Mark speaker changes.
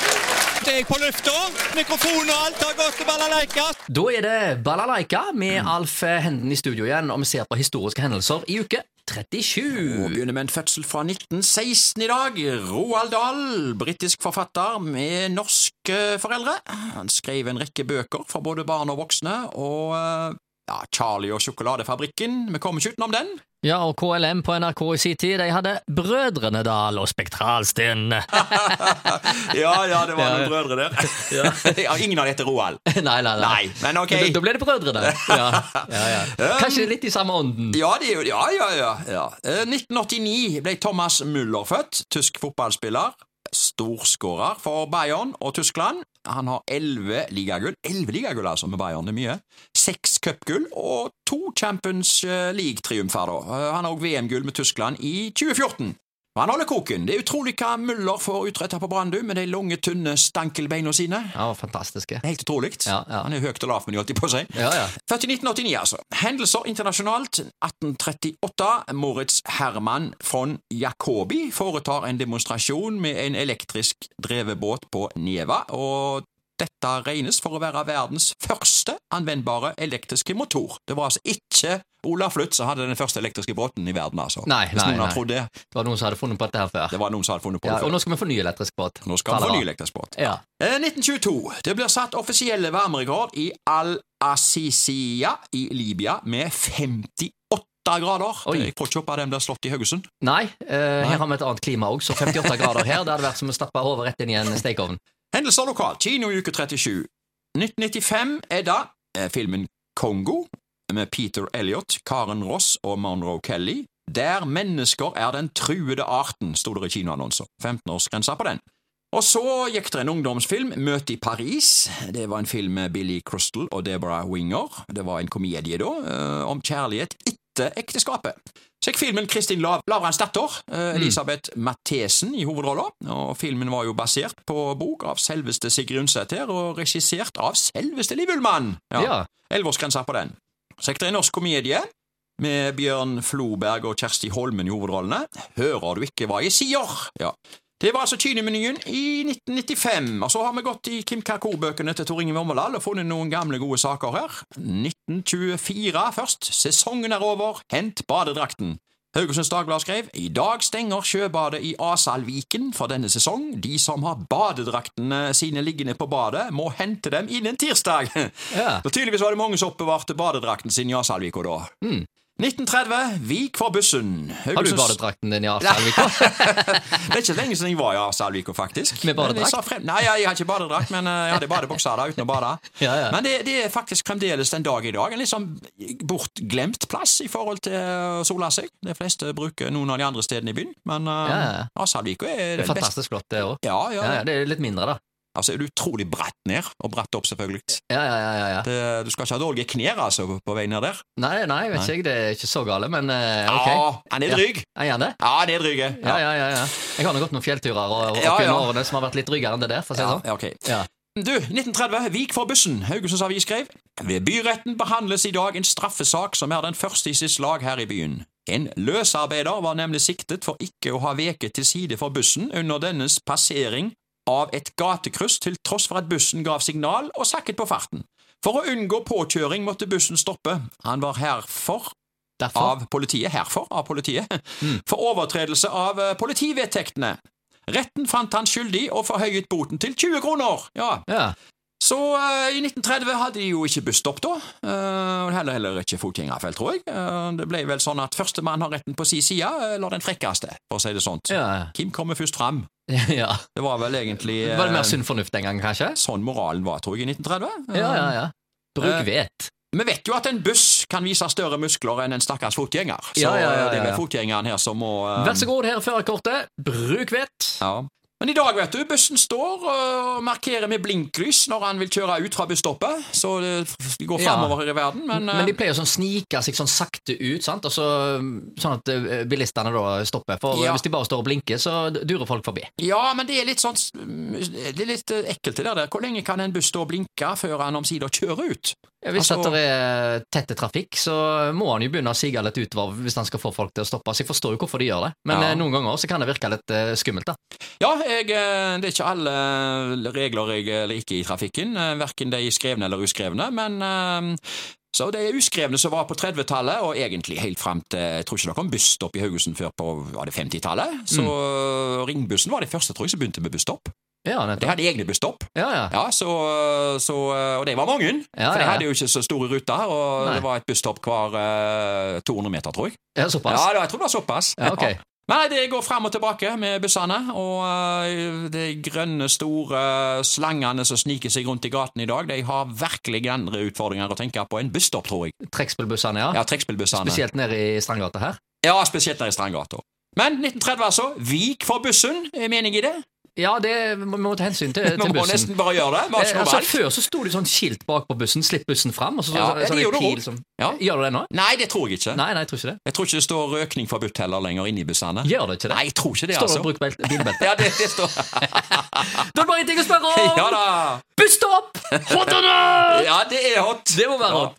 Speaker 1: Snart er jeg på lufta. Mikrofon og alt har gått til balalaika.
Speaker 2: Da er det Balalaika med Alf eh, Henden i studio igjen, og vi ser på historiske hendelser i uke
Speaker 3: Og
Speaker 2: 37.
Speaker 3: begynner med en fødsel fra 1916 i dag. Roald Dahl, britisk forfatter med norske foreldre. Han skrev en rekke bøker for både barn og voksne, og eh, ja, Charlie og sjokoladefabrikken. Vi kommer ikke utenom den.
Speaker 2: Ja, og KLM på NRK i sin tid, de hadde Brødrene Dal og Spektralsten.
Speaker 3: Ja, ja, det var noen brødre der. ja, ingen av de heter Roald.
Speaker 2: Nei, nei, nei.
Speaker 3: Nei, men ok.
Speaker 2: Da, da ble det Brødrene. Ja, ja, ja. Kanskje litt i samme ånden.
Speaker 3: Ja, det er jo Ja, ja, ja. ja. Eh, 1989 ble Thomas Müller født, tysk fotballspiller. Storskårer for Bayern og Tyskland. Han har elleve ligagull. Elleve ligagull, altså, med Bayern. Det er mye. Seks cupgull og to Champions eh, League-triumfer, da. Eh, Han har òg VM-gull med Tyskland i 2014. Og Han holder koken. Det er utrolig hva Müller får utretta på Brandu med de lange, tynne stankelbeina sine.
Speaker 2: Ja, fantastiske.
Speaker 3: Det er helt utrolig.
Speaker 2: Ja, ja.
Speaker 3: Han er høyt og lavt, men de holdt de på å si.
Speaker 2: Ja, ja.
Speaker 3: Født i 1989, altså. Hendelser internasjonalt. 1838. Moritz Herman von Jacobi foretar en demonstrasjon med en elektrisk drevebåt på Neva. og dette regnes for å være verdens første anvendbare elektriske motor. Det var altså ikke Olaf Lutz som hadde den første elektriske båten i verden, altså.
Speaker 2: Nei,
Speaker 3: Hvis
Speaker 2: nei,
Speaker 3: noen
Speaker 2: nei.
Speaker 3: har trodd det.
Speaker 2: Det var noen som hadde funnet på dette her før.
Speaker 3: Det var noen som hadde funnet på
Speaker 2: Ja,
Speaker 3: det
Speaker 2: og
Speaker 3: før.
Speaker 2: nå skal vi få ny elektrisk båt.
Speaker 3: Nå skal vi
Speaker 2: Ta
Speaker 3: få
Speaker 2: det
Speaker 3: ny
Speaker 2: bra.
Speaker 3: elektrisk båt.
Speaker 2: Ja.
Speaker 3: Eh, 1922. Det blir satt offisielle varmerekord i Al-Asisiya i Libya med 58 grader.
Speaker 2: Oi.
Speaker 3: Jeg tror ikke håpe den blir slått i Haugesund.
Speaker 2: Nei, eh, her har vi et annet klima òg, så 58 grader her, det hadde vært som å stappe hodet rett inn i en stekeovn.
Speaker 3: Hendelser lokalt. Kino i uke 37. 1995 er da eh, filmen Kongo med Peter Elliot, Karen Ross og Monroe Kelly. Der mennesker er den truede arten, sto det i kinoannonser. 15-årsgrensa på den. Og så gikk det en ungdomsfilm, Møte i Paris. Det var en film med Billy Crystal og Deborah Winger. Det var en komedie, da, eh, om kjærlighet etter ekteskapet. Så gikk filmen Kristin Lav Lavrans datter, eh, Elisabeth Mathesen i hovedrollen. Og filmen var jo basert på bok av selveste Sigrid Undsæter, og regissert av selveste Liv Ullmann.
Speaker 2: Ja.
Speaker 3: Elleveårsgrensa på den. Så gikk det en norsk komedie med Bjørn Floberg og Kjersti Holmen i hovedrollene. Hører du ikke hva jeg sier? Ja. Det var altså Kinemenyen i 1995. Og så har vi gått i Kim Karkor-bøkene til Tor Inge Vormedal og funnet noen gamle, gode saker her. 1924 først. Sesongen er over. Hent badedrakten. Haugesunds Dagblad skrev i dag stenger sjøbadet i Asalviken for denne sesong. De som har badedraktene sine liggende på badet, må hente dem innen tirsdag.
Speaker 2: Ja.
Speaker 3: Så tydeligvis var det mange som oppbevarte badedrakten sin i Asalvika da. 1930, Vik for bussen.
Speaker 2: Har du
Speaker 3: Haugesunds-
Speaker 2: badedrakten din i Arsalvika?
Speaker 3: Det er ikke lenge siden jeg var i Asalvika, faktisk.
Speaker 2: Med badedrakt?
Speaker 3: Men jeg sa frem- Nei, jeg har ikke badedrakt, men eh, jeg hadde badebukser da, uten å bade.
Speaker 2: Ja, ja.
Speaker 3: Men det, det er faktisk fremdeles den dag i dag en litt sånn bortglemt plass i forhold til å sole seg. De fleste bruker noen av de andre stedene i byen, men eh,
Speaker 2: Ja, ja.
Speaker 3: Asalvika er
Speaker 2: Det er
Speaker 3: den beste.
Speaker 2: fantastisk flott, det òg.
Speaker 3: Ja, ja.
Speaker 2: Ja, ja, det er litt mindre, da.
Speaker 3: Altså, er det utrolig bratt ned, og bratt opp, selvfølgelig.
Speaker 2: Ja, ja, ja, ja, ja.
Speaker 3: Det, du skal ikke ha dårlige knær, altså, på vei ned der.
Speaker 2: Nei, nei, vet ikke jeg, det er ikke så gale, men eh, ok.
Speaker 3: Ja, han er dryg.
Speaker 2: Er han det?
Speaker 3: Ja, han er dryg.
Speaker 2: Ja, ja, ja, ja. Jeg har nå gått noen fjellturer og, og
Speaker 3: Ja,
Speaker 2: opp gjennom
Speaker 3: ja.
Speaker 2: årene som har vært litt drygere enn det der, for å si det
Speaker 3: Ja,
Speaker 2: sånn.
Speaker 3: ja, ok.
Speaker 2: Ja.
Speaker 3: Du, 1930, Vik for bussen. Haugesunds Avis skrev Ved byretten behandles i dag en straffesak som er den første i sitt slag her i byen. En løsarbeider var nemlig siktet for ikke å ha veket til side for bussen under dennes passering av et gatekryss til tross for at bussen gav signal og sakket på farten. For å unngå påkjøring måtte bussen stoppe. Han var herfor
Speaker 2: Derfor.
Speaker 3: av politiet, herfor av politiet, for overtredelse av eh, politivedtektene. Retten fant han skyldig og forhøyet boten til 20 kroner. Ja,
Speaker 2: Ja.
Speaker 3: så eh, i 1930 hadde de jo ikke busstopp da, eh, og heller, heller ikke fotgjengerfelt, tror jeg. Eh, det ble vel sånn at førstemann har retten på si side, eller den frekkeste, for å si det sånt.
Speaker 2: Ja.
Speaker 3: Kim kommer først fram.
Speaker 2: ja.
Speaker 3: Det var vel egentlig eh,
Speaker 2: Var det mer sunn fornuft den gangen, kanskje?
Speaker 3: sånn moralen var, tror jeg, i 1930. Eh,
Speaker 2: Ja, ja, ja. Bruk vet.
Speaker 3: Vi vet jo at en buss kan vise større muskler enn en stakkars fotgjenger, så
Speaker 2: Ja, ja, ja,
Speaker 3: eh, det
Speaker 2: ja,
Speaker 3: er
Speaker 2: ja.
Speaker 3: vel fotgjengeren her som må eh,
Speaker 2: Vær så god, her er førerkortet. Bruk vett.
Speaker 3: Ja. Men i dag, vet du, bussen står eh, og markerer med blinklys når han vil kjøre ut fra busstoppet, så det f- går
Speaker 2: Ja.
Speaker 3: framover her i verden, men,
Speaker 2: Men de pleier å sånn snike seg sånn sakte ut, sant? Og så, sånn at eh, bilistene da stopper. For eh,
Speaker 3: Ja.
Speaker 2: hvis de bare står og blinker, så durer folk forbi.
Speaker 3: Ja, men det er litt sånn mm, det er litt eh, ekkelt det der. Hvor lenge kan en buss stå og blinke før han omsider kjører ut?
Speaker 2: Ja, Hvis
Speaker 3: Altså-
Speaker 2: at det er tette trafikk, så må han jo begynne å sige litt utover hvis han skal få folk til å stoppe. Så jeg forstår jo hvorfor de gjør det, men
Speaker 3: Ja.
Speaker 2: eh, noen ganger så kan det virke litt eh, skummelt. da.
Speaker 3: Ja, jeg, eh, det er ikke alle eh, regler jeg eh, liker i trafikken, eh, verken de skrevne eller uskrevne, men eh, så de uskrevne som var på 30-tallet, og egentlig helt fram til Jeg tror ikke det kom busstopp i Haugesund før på var det 50-tallet. Så eh, ringbussen var de første tror jeg, som begynte med busstopp.
Speaker 2: Ja,
Speaker 3: De
Speaker 2: nettopp.
Speaker 3: hadde egne busstopp,
Speaker 2: Ja, ja.
Speaker 3: ja, så, så, eh, og de var mange.
Speaker 2: Ja,
Speaker 3: for de
Speaker 2: ja.
Speaker 3: hadde jo ikke så store ruter, og
Speaker 2: Nei.
Speaker 3: det var et busstopp hver eh, 200 meter, tror jeg.
Speaker 2: ja såpass.
Speaker 3: Ja, det var- jeg tror det var såpass.
Speaker 2: Ja, ok.
Speaker 3: Nei, det går frem og tilbake med bussene, og øh, de grønne, store slangene som sniker seg rundt i gaten i dag, de har virkelig andre utfordringer å tenke på enn busstopp, tror jeg.
Speaker 2: Trekkspillbussene, ja.
Speaker 3: Ja, trekkspillbussene.
Speaker 2: Ah, Spesielt nede i Strandgata her.
Speaker 3: Ja, spesielt der i Strandgata. Men 1930 altså, vik for bussen, er mening i det?
Speaker 2: Ja, det må vi må ta hensyn Eh, til,
Speaker 3: Vi
Speaker 2: til
Speaker 3: må
Speaker 2: bussen.
Speaker 3: nesten bare gjøre det, vi har
Speaker 2: Eh,
Speaker 3: ikke noe
Speaker 2: altså,
Speaker 3: valg.
Speaker 2: før så sto det sånn skilt bak på bussen 'slipp bussen fram'. Og så, så,
Speaker 3: Ja, det
Speaker 2: sånn en
Speaker 3: gjorde det
Speaker 2: pil
Speaker 3: også.
Speaker 2: som-
Speaker 3: Ja.
Speaker 2: Gjør det det nå?
Speaker 3: Nei, det tror jeg ikke.
Speaker 2: Nei, nei, jeg tror ikke det.
Speaker 3: Jeg tror ikke det står røkning forbudt heller lenger inne i bussene.
Speaker 2: Gjør det ikke det?
Speaker 3: Nei, jeg tror ikke det,
Speaker 2: Står det
Speaker 3: altså.
Speaker 2: 'bruk bel- bilbelte'?
Speaker 3: Ja, det, det står
Speaker 2: Da er det bare en ting å spørre om!
Speaker 3: Ja da!
Speaker 2: Buss opp! Hot or not?
Speaker 3: Ja, det er hot.
Speaker 2: Det må være
Speaker 3: Ja.
Speaker 2: hot.